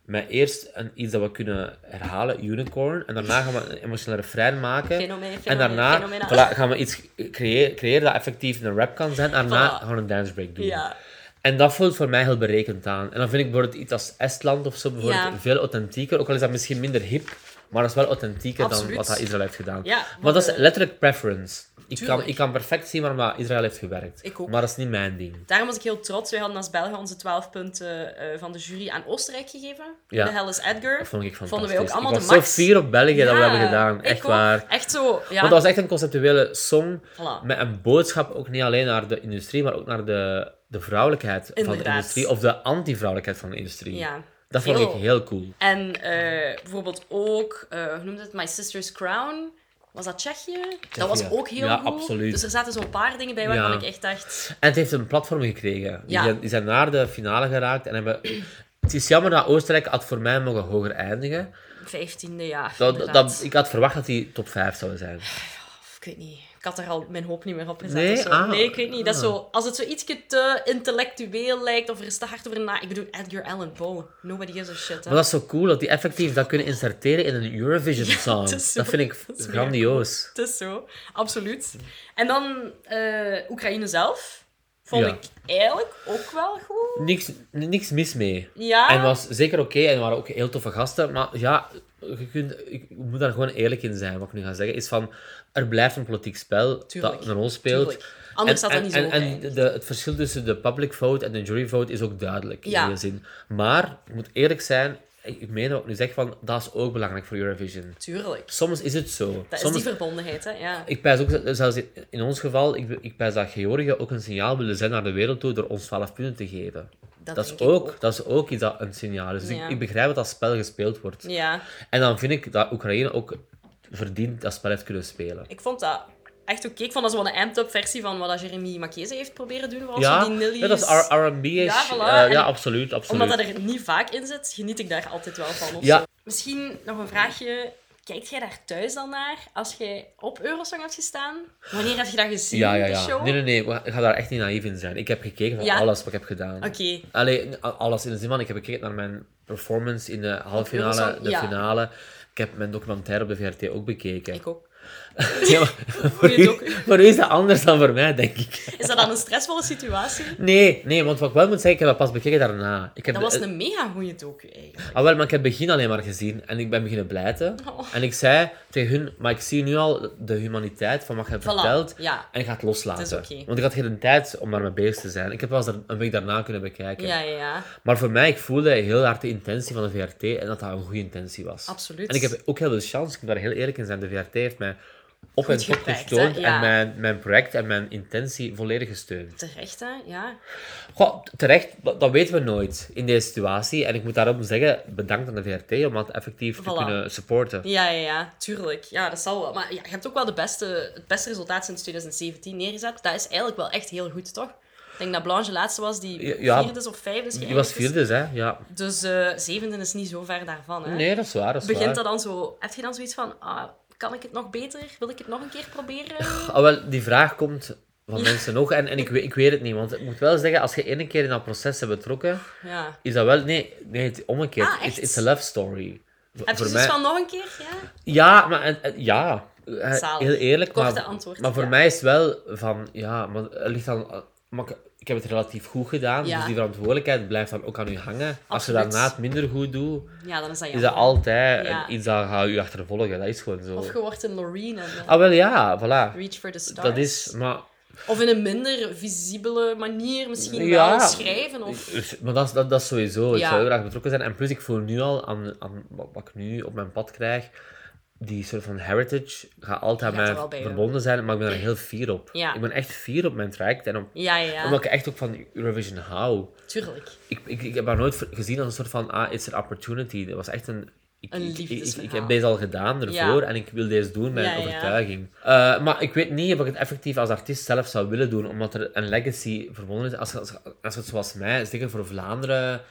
S2: met eerst een, iets dat we kunnen herhalen, Unicorn. En daarna gaan we een emotionele refrein maken.
S1: Fenomeen,
S2: en
S1: fenomeen,
S2: daarna
S1: fenomenaal.
S2: voilà, gaan we iets creë- creëren dat effectief een rap kan zijn. En daarna
S1: Voilà.
S2: gaan we een dancebreak doen.
S1: ja.
S2: En dat voelt voor mij heel berekend aan. En dan vind ik bijvoorbeeld iets als Estland of zo bijvoorbeeld
S1: Ja.
S2: veel authentieker. Ook al is dat misschien minder hip, maar dat is wel authentieker dan
S1: Absoluut.
S2: wat dat Israël heeft gedaan.
S1: Ja,
S2: maar
S1: maar
S2: dat is
S1: de-
S2: letterlijk preference. Ik kan,
S1: Tuurlijk.
S2: ik kan perfect zien waarom dat Israël heeft gewerkt.
S1: Ik ook.
S2: Maar dat is niet mijn ding.
S1: Daarom was ik heel trots. Wij hadden als Belgen onze 12 punten eh, van de jury aan Oostenrijk gegeven.
S2: Ja.
S1: De Hell is Edgar.
S2: Dat vond ik fantastisch.
S1: Vonden wij ook allemaal
S2: ik
S1: de
S2: was
S1: max.
S2: zo fier op België dat we
S1: Ja,
S2: hebben gedaan.
S1: ik
S2: Echt
S1: ook.
S2: waar.
S1: Echt zo, ja.
S2: Want dat was echt een conceptuele song
S1: Voilà.
S2: met een boodschap ook niet alleen naar de industrie, maar ook naar de, de vrouwelijkheid van de
S1: Inderdaad.
S2: industrie. Of de anti-vrouwelijkheid van de industrie.
S1: Ja.
S2: Dat vond
S1: Heel.
S2: ik heel cool.
S1: En eh, bijvoorbeeld ook, eh, hoe noemde het? My Sister's Crown. Was dat Tsjechië? Dat was ook heel
S2: Ja,
S1: goed.
S2: absoluut.
S1: Dus er zaten zo'n paar dingen bij waarvan
S2: Ja.
S1: ik echt dacht...
S2: En het heeft een platform gekregen. Die,
S1: Ja.
S2: zijn, die zijn naar de finale geraakt en hebben... Het is jammer dat Oostenrijk had voor mij mogen hoger eindigen.
S1: 15e jaar,
S2: Dat, dat-
S1: inderdaad.
S2: dat, ik had verwacht dat die top 5 zouden zijn.
S1: Of Ik weet niet. Ik had er al mijn hoop niet meer op gezet.
S2: Nee?
S1: of zo.
S2: Ah.
S1: nee ik weet niet. Dat is zo, als het zo ietsje te intellectueel lijkt of er is te hard over na... Ik bedoel, Edgar Allan Poe. Nobody gives a shit, hè.
S2: Maar dat is zo cool dat die effectief dat kunnen inserteren in een Eurovision song.
S1: het is zo-
S2: dat vind ik
S1: dat is mega
S2: grandioos.
S1: Het is zo, absoluut. En dan eh, Oekraïne zelf. Vond
S2: Ja.
S1: ik eigenlijk ook wel goed.
S2: Niks, niks mis mee.
S1: Ja.
S2: En was zeker oké en waren ook heel toffe gasten. Maar ja, je kunt, ik moet daar gewoon eerlijk in zijn. Wat ik nu ga zeggen is van, er blijft een politiek spel
S1: Tuurlijk.
S2: dat een rol speelt.
S1: Tuurlijk. Anders
S2: en,
S1: had dat
S2: en-
S1: niet zo
S2: En, en
S1: geëindigd.
S2: de, het verschil tussen de public vote en de jury vote is ook duidelijk in
S1: Ja.
S2: die zin. Maar, ik moet eerlijk zijn, ik ik meen wat ik nu zeg van, dat is ook belangrijk voor Eurovision.
S1: Tuurlijk.
S2: Soms is het zo.
S1: Dat
S2: Soms
S1: is die verbondenheid, hè. Ja.
S2: ik pijs ook, zelfs in- in ons geval, ik, ik pijs dat Georgië ook een signaal wilde zijn naar de wereld toe door ons 12 punten te geven. Dat,
S1: denk
S2: is,
S1: ik
S2: ook, dat is ook iets dat een signaal is. Dus
S1: Ja.
S2: ik, ik begrijp dat dat spel gespeeld wordt.
S1: Ja.
S2: En dan vind ik dat Oekraïne ook verdient dat spel heeft kunnen spelen.
S1: Ik vond dat echt oké. Ik vond dat zo'n amped-up versie van wat dat Jeremy Makese heeft proberen doen. Vooral
S2: Ja,
S1: zo die Nilly's.
S2: ja, dat is R- R&B. -ish.
S1: Ja, voilà.
S2: Eh, ja,
S1: En-
S2: absoluut. absoluut.
S1: Omdat dat er niet vaak in zit, geniet ik daar altijd wel van. Of
S2: Ja.
S1: zo. Misschien nog een vraagje. Kijkt jij daar thuis dan naar als jij op Eurosong hebt gestaan? Wanneer heb je dat gezien,
S2: Ja, ja,
S1: de
S2: ja.
S1: show?
S2: Nee, nee, nee. we- Ik ga daar echt niet naïef in zijn. Ik heb gekeken van
S1: Ja.
S2: alles wat ik heb gedaan.
S1: Oké.
S2: Allee, a- alles in de zin van, ik heb gekeken naar mijn performance in de halve finale,
S1: Eurosong,
S2: de
S1: ja.
S2: finale. Ik heb mijn documentaire op de VRT ook bekeken.
S1: Ik ook.
S2: Ja, maar voor,
S1: Goeie
S2: u,
S1: docu.
S2: voor u is dat anders dan voor mij, denk ik.
S1: Is dat dan een stressvolle situatie?
S2: Nee, nee, want wat ik wel moet zeggen, ik heb dat pas bekeken daarna. Ik heb
S1: Dat was
S2: eh,
S1: een mega goede docu eigenlijk.
S2: Ah, wel, maar ik heb het begin alleen maar gezien en ik ben beginnen blijten.
S1: Oh.
S2: En ik zei tegen hun, maar ik zie nu al de humaniteit van wat je hebt
S1: Voilà,
S2: verteld.
S1: ja.
S2: En ik ga het loslaten.
S1: Het is oké.
S2: Want ik had geen tijd om daarmee bezig te zijn. Ik heb pas een week daarna kunnen bekijken.
S1: Ja, ja, ja.
S2: Maar voor mij, ik voelde heel hard de intentie van de VRT en dat dat een goede intentie was.
S1: Absoluut.
S2: En ik heb ook heel veel chance, ik moet daar heel eerlijk in zijn. De VRT heeft mij op en top
S1: gewerkt,
S2: gesteund
S1: hè? Ja.
S2: en mijn, mijn project en mijn intentie volledig gesteund.
S1: Terecht, hè? Ja.
S2: Goh, t- terecht, dat, dat weten we nooit in deze situatie. En ik moet daarom zeggen, bedankt aan de VRT om dat effectief te
S1: Voilà.
S2: kunnen supporten.
S1: Ja, ja, ja, tuurlijk. Ja, dat zal wel. Maar ja, je hebt ook wel de beste, het beste resultaat sinds 2017 neergezet. Dat is eigenlijk wel echt heel goed, toch? Ik denk dat Blanche de laatste was die
S2: Ja, ja.
S1: vierde of vijfde is
S2: Je
S1: geëindigd
S2: was
S1: is.
S2: vierde, hè? Ja.
S1: Dus eh, zevende is niet zo ver daarvan, hè?
S2: Nee, dat is waar, dat is
S1: Begint
S2: waar.
S1: dat dan zo... Heb je dan zoiets van... ah, kan ik het nog beter? Wil ik het nog een keer proberen?
S2: Ah, wel, die vraag komt van mensen nog en, en ik, we- ik weet het niet. Want ik moet wel zeggen, als je één keer in dat proces hebt betrokken,
S1: Ja.
S2: is dat wel... Nee, nee het is omgekeerd.
S1: Ah,
S2: It's-
S1: echt?
S2: it's, a love story. V-
S1: Heb je
S2: voor
S1: zoiets
S2: mij-
S1: van nog een keer? Ja?
S2: Ja, maar en- en- ja. Eh,
S1: Zalig.
S2: Heel eerlijk.
S1: Korte
S2: maar,
S1: antwoord,
S2: Maar voor
S1: ja.
S2: mij is het wel van, ja, maar het ligt dan... eh, Maar ik- ik heb het relatief goed gedaan,
S1: Ja.
S2: dus die verantwoordelijkheid blijft dan ook aan u hangen. Als je
S1: Absoluut.
S2: daarna het minder goed doet,
S1: Ja, dan is dat
S2: is
S1: jammer.
S2: dat altijd
S1: Ja.
S2: iets dat gaat u achtervolgen. Dat is gewoon zo.
S1: Of je wordt een Loreen en eh,
S2: Ah, wel ja, voilà.
S1: Reach for the Stars.
S2: Dat is, maar...
S1: Of in een minder visibele manier misschien
S2: Ja.
S1: wel schrijven. Of...
S2: Maar dat is, dat, dat is sowieso. Ik
S1: Ja.
S2: zou heel graag betrokken zijn. En plus, ik voel nu al aan, aan wat, wat ik nu op mijn pad krijg, die soort van heritage gaat altijd
S1: Gaat er
S2: aan
S1: wel
S2: mij
S1: bij
S2: verbonden zijn. Maar ik ben er heel fier op.
S1: Ja.
S2: Ik ben echt fier op mijn traject. En om-
S1: Ja, ja, ja.
S2: omdat ik echt ook van Eurovision hou.
S1: Tuurlijk.
S2: Ik, ik, ik heb haar nooit ver- gezien als een soort van, ah, it's an opportunity. Dat was echt een... Ik,
S1: Een
S2: ik, ik- ik, ik
S1: liefdesverhaal.
S2: heb deze al gedaan ervoor en ik wil deze doen met
S1: Ja, ja.
S2: overtuiging. Eh, maar ik weet niet of ik het effectief als artiest zelf zou willen doen, omdat er een legacy verbonden is. Als, je- als, je- als je het zoals mij, zeker voor Vlaanderen,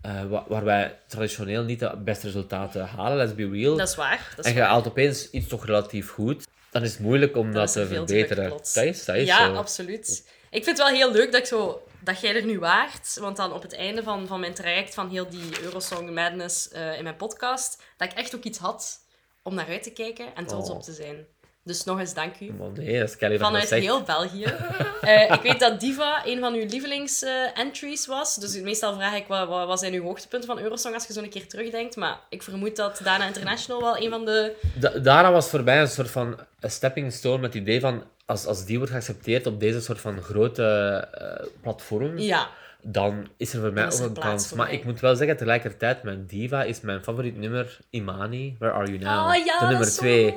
S2: eh, wa- waar wij traditioneel niet de beste resultaten halen, let's be real.
S1: Dat is waar. Dat is
S2: en je
S1: waar.
S2: haalt opeens iets toch relatief goed, dan is het moeilijk om dat,
S1: is
S2: te
S1: er veel te
S2: verbeteren.
S1: plots.
S2: dat is, dat is
S1: ja,
S2: zo.
S1: absoluut. Ik vind het wel heel leuk dat, ik zo, dat jij er nu waart. Want dan op het einde van, van mijn traject van heel die Eurosong Madness eh, in mijn podcast, dat ik echt ook iets had om naar uit te kijken en trots
S2: Oh.
S1: op te zijn. Dus nog eens dank u.
S2: Maar nee, dat is Kelly van
S1: Vanuit
S2: dat zegt.
S1: heel België. Eh, ik weet dat Diva een van uw lievelings-entries was. Dus meestal vraag ik, wat, wat, wat zijn uw hoogtepunten van Eurosong als je zo een keer terugdenkt? Maar ik vermoed dat Dana International wel een van de...
S2: Da- daarna was voor mij een soort van een stepping stone met het idee van als, als die wordt geaccepteerd op deze soort van grote eh, platform,
S1: Ja,
S2: dan is er voor mij
S1: Dan is
S2: ook
S1: er
S2: een
S1: plaats
S2: kans.
S1: voor
S2: Maar
S1: mij.
S2: ik moet wel zeggen, tegelijkertijd, mijn diva is mijn favoriet nummer, Imani, Where Are You Now?
S1: Ah, ja,
S2: de
S1: dat
S2: nummer
S1: is zo-
S2: twee.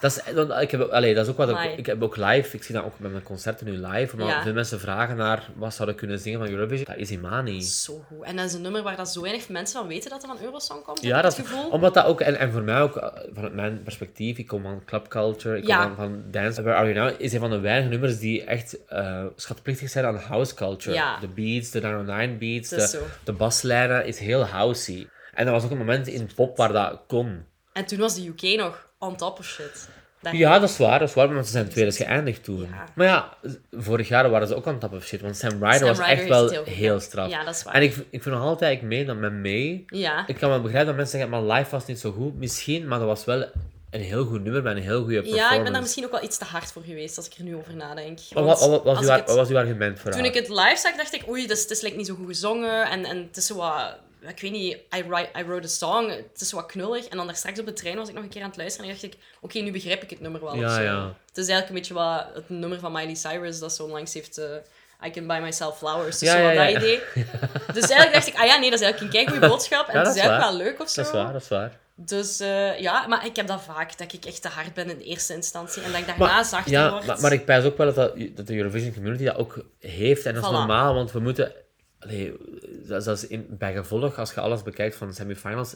S2: Dat is, eh, want ik, heb, ook- allee, dat is ook wat
S1: Amai.
S2: ik, ik heb ook live, ik zie dat ook met mijn concerten nu live, maar
S1: Ja.
S2: veel mensen vragen naar wat zouden kunnen zingen van Eurovision. Dat is Imani.
S1: Zo goed. En dat is een nummer waar dat zo weinig mensen van weten dat er van Eurosong komt.
S2: Ja, dat
S1: het
S2: is,
S1: gevoel.
S2: omdat dat ook, en, en voor mij ook, eh, vanuit mijn perspectief, ik kom van club culture, ik
S1: Ja.
S2: kom van, van dance. Where Are You Now is een van de weinige nummers die echt eh, schatplichtig zijn aan house culture.
S1: Ja.
S2: De beats, de 909 beats,
S1: Dat is
S2: de,
S1: zo.
S2: de baslijnen is heel housey. En er was ook een moment in pop waar dat kon.
S1: En toen was de UK nog on top of shit. Daar-
S2: Ja, dat is waar, dat is waar, want ze zijn tweede geëindigd toen.
S1: Ja.
S2: Maar ja, z- vorig jaar waren ze ook aan het top of shit, want Sam Ryder
S1: Sam
S2: was
S1: Ryder
S2: echt
S1: is
S2: wel
S1: het heel
S2: heel,
S1: goed, ja.
S2: straf.
S1: Ja, dat is waar.
S2: En ik, ik vind nog altijd, ik meen dat met mee,
S1: Ja.
S2: ik kan wel begrijpen dat mensen zeggen, maar live was niet zo goed. Misschien, maar dat was wel een heel goed nummer met een heel goede performance.
S1: Ja, ik ben daar misschien ook wel iets te hard voor geweest als ik er nu over nadenk.
S2: Wat,
S1: Want
S2: wat- wat was,
S1: als ik
S2: uw, ar-
S1: het-
S2: wat was uw argument voor
S1: Toen
S2: haar?
S1: ik het live zag, dacht ik, oei, dus, het is like, niet zo goed gezongen. En, en het is zo wat... Ik weet niet, I, write, I wrote a song, het is zo wat knullig. En dan daar straks op de trein was ik nog een keer aan het luisteren en dacht ik, oké, nu begrijp ik het nummer wel.
S2: Ja,
S1: of zo.
S2: ja.
S1: Het is eigenlijk een beetje wat het nummer van Miley Cyrus dat zo langs heeft... eh, I can buy myself flowers, dus
S2: Ja,
S1: zo wat
S2: ja,
S1: dat
S2: ja.
S1: idee. Dus eigenlijk dacht ik, ah ja, nee, dat is eigenlijk een keigoede boodschap. En
S2: Ja,
S1: het
S2: dat
S1: is
S2: is
S1: eigenlijk
S2: waar.
S1: wel leuk of zo.
S2: Dat is waar, dat is waar.
S1: Dus eh, ja, maar ik heb dat vaak, dat ik echt te hard ben in eerste instantie. En dat ik daarna
S2: Maar,
S1: zachter
S2: ja,
S1: word.
S2: maar, maar ik pijs ook wel dat, dat, dat de Eurovision community dat ook heeft. En dat is
S1: Voilà.
S2: normaal, want we moeten... Allee, dat, dat is in, bij gevolg, als je alles bekijkt van de semifinals,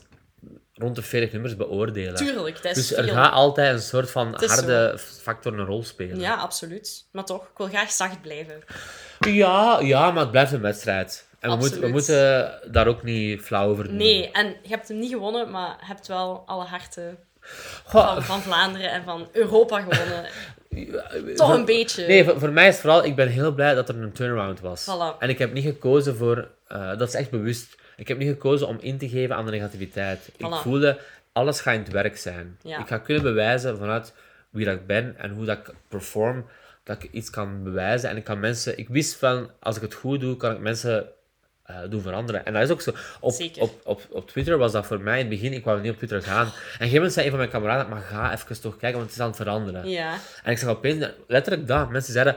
S2: rond de 40 nummers beoordelen.
S1: Tuurlijk, dat is
S2: Dus er
S1: veel.
S2: gaat altijd een soort van
S1: is
S2: harde factor een rol spelen.
S1: Ja, absoluut. Maar toch, ik wil graag zacht blijven.
S2: ja, ja, maar het blijft een wedstrijd. En we,
S1: Absoluut.
S2: moeten we moeten daar ook niet flauw over doen.
S1: Nee, en je hebt hem niet gewonnen, maar hebt wel alle harten
S2: Goh,
S1: van, van Vlaanderen en van Europa gewonnen. Toch
S2: voor-
S1: een beetje.
S2: Nee, voor, voor mij is het vooral, ik ben heel blij dat er een turnaround was.
S1: Voilà.
S2: En ik heb niet gekozen voor, eh, dat is echt bewust, ik heb niet gekozen om in te geven aan de negativiteit. Ik
S1: Voilà.
S2: voelde, alles gaat in het werk zijn.
S1: Ja.
S2: Ik ga kunnen bewijzen vanuit wie dat ik ben en hoe dat ik perform, dat ik iets kan bewijzen. En ik kan mensen, ik wist van, als ik het goed doe, kan ik mensen eh, doen veranderen. En dat is ook zo. Op,
S1: Zeker.
S2: op, op, op Twitter was dat voor mij in het begin, ik wou niet op Twitter gaan. En op een gegeven moment zei een van mijn kameraden, maar ga even toch kijken, want het is aan het veranderen.
S1: Ja,
S2: En ik zag opeens, letterlijk dat, mensen zeiden,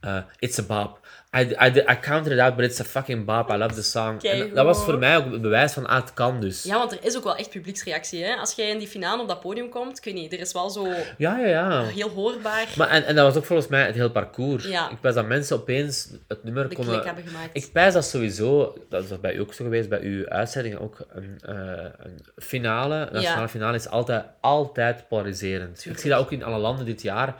S2: eh, it's a bop. I, I, I counted it out, but it's a fucking bop. I love the song. En
S1: Keigoed.
S2: dat was voor mij ook het bewijs van, ah, het kan dus.
S1: ja, want er is ook wel echt publieksreactie. Hè? Als jij in die finale op dat podium komt, ik weet niet, er is wel zo
S2: ja, ja. ja.
S1: heel hoorbaar
S2: Maar, en, en dat was ook volgens mij het heel parcours.
S1: Ja.
S2: Ik was dat mensen opeens het nummer
S1: de
S2: konden...
S1: klik hebben gemaakt.
S2: Ik pijs dat sowieso, dat is dat bij u ook zo geweest, bij uw uitzending ook, een, eh, een finale, een nationale finale is altijd, altijd polariserend. Ik zie dat ook in alle landen dit jaar,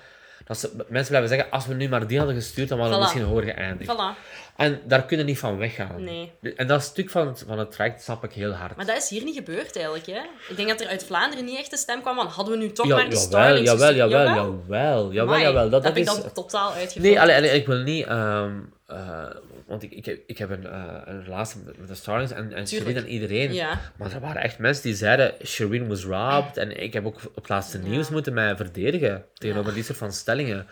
S2: dat ze, mensen blijven zeggen, als we nu maar die hadden gestuurd, dan hadden we
S1: Voilà.
S2: misschien hoger geëindigd.
S1: Voilà.
S2: En daar kunnen niet van weggaan.
S1: Nee.
S2: En dat stuk van het, van het traject snap ik heel hard.
S1: Maar dat is hier niet gebeurd eigenlijk. Hè? Ik denk dat er uit Vlaanderen niet echt een stem kwam van hadden we nu toch
S2: Ja,
S1: maar die
S2: jawel,
S1: Starlings
S2: jawel,
S1: gestuurd?
S2: jawel, jawel, jawel,
S1: dus- Amai,
S2: jawel. Dat, dat
S1: heb
S2: is...
S1: ik dan totaal uitgevonden.
S2: Nee, allee, allee, ik wil niet... ehm, eh, want ik, ik, heb- ik heb een, eh, een relatie met, met de Starlings en, en Shireen en iedereen.
S1: Ja.
S2: Maar er waren echt mensen die zeiden, Shireen was robbed. En ik heb ook op het laatste nieuws moeten mij verdedigen tegenover die soort van stellingen.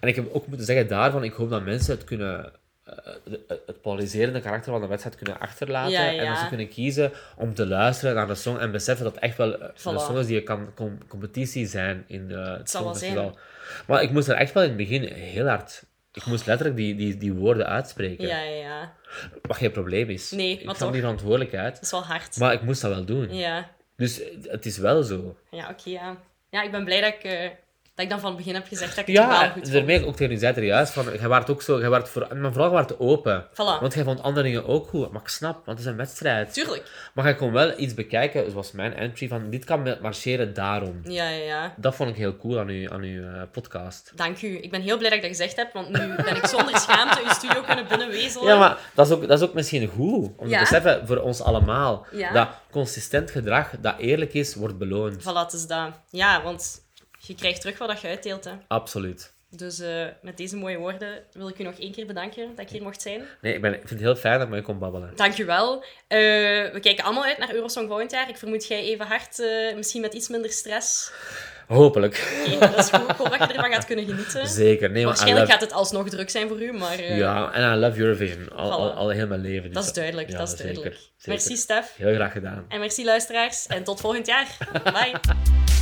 S2: En ik heb ook moeten zeggen daarvan, ik hoop dat mensen het kunnen... eh, Het het polariserende karakter van de wedstrijd kunnen achterlaten
S1: Ja,
S2: en dat ze
S1: ja.
S2: kunnen kiezen om te luisteren naar de song en beseffen dat het echt wel eh, een
S1: Voilà.
S2: song is die kan com- competitie zijn in eh, het
S1: zal wel zijn.
S2: Songfestival. Maar ik moest er echt wel in het begin heel hard. Ik moest letterlijk die, die, die woorden uitspreken.
S1: Ja, ja, ja.
S2: Wat geen probleem is.
S1: Nee,
S2: ik
S1: maar
S2: nam
S1: toch.
S2: die verantwoordelijkheid.
S1: Dat is wel hard.
S2: Maar ik moest dat wel doen.
S1: Ja.
S2: Dus het is wel zo.
S1: Ja, oké, ja. Ja, ik ben blij dat ik, eh, dat ik dan van het begin heb gezegd dat ik het wel
S2: Ja,
S1: goed
S2: en
S1: vond.
S2: daarmee ook tegen u zei er juist van, jij waart ook zo, jij waart voor, maar vooral jij waart open.
S1: Voilà.
S2: Want jij vond andere dingen ook goed. Maar ik snap, want het is een wedstrijd.
S1: Tuurlijk.
S2: Maar jij kon wel iets bekijken, zoals mijn entry, van dit kan marcheren daarom.
S1: Ja, ja, ja.
S2: Dat vond ik heel cool aan uw, aan uw eh, podcast.
S1: Dank u. Ik ben heel blij dat ik dat gezegd heb, want nu ben ik zonder schaamte uw studio kunnen binnenwezelen.
S2: Ja, maar dat is ook, dat is ook misschien goed om
S1: Ja.
S2: te beseffen voor ons allemaal.
S1: Ja.
S2: Dat consistent gedrag dat eerlijk is, wordt beloond.
S1: Voilà, het is dat. Ja, want je krijgt terug wat je uitdeelt, hè.
S2: Absoluut.
S1: Dus eh, met deze mooie woorden wil ik u nog één keer bedanken dat ik hier mocht zijn.
S2: Nee, ik, ben, ik vind het heel fijn dat ik mee kon babbelen.
S1: Dank u wel. Eh, we kijken allemaal uit naar Eurosong volgend jaar. Ik vermoed jij even hard, eh, misschien met iets minder stress.
S2: Hopelijk.
S1: Oké, dat is goed. Ik hoop dat je ervan gaat kunnen genieten.
S2: Zeker. Nee, maar I
S1: Waarschijnlijk
S2: love-
S1: gaat het alsnog druk zijn voor u, maar... eh,
S2: Ja, en I love Eurovision. Al, al,
S1: Voilà.
S2: al heel mijn leven. dus
S1: Dat is duidelijk,
S2: ja,
S1: dat is
S2: zeker,
S1: duidelijk.
S2: zeker.
S1: Merci Stef
S2: Heel graag gedaan.
S1: en merci luisteraars en tot volgend jaar. Bye.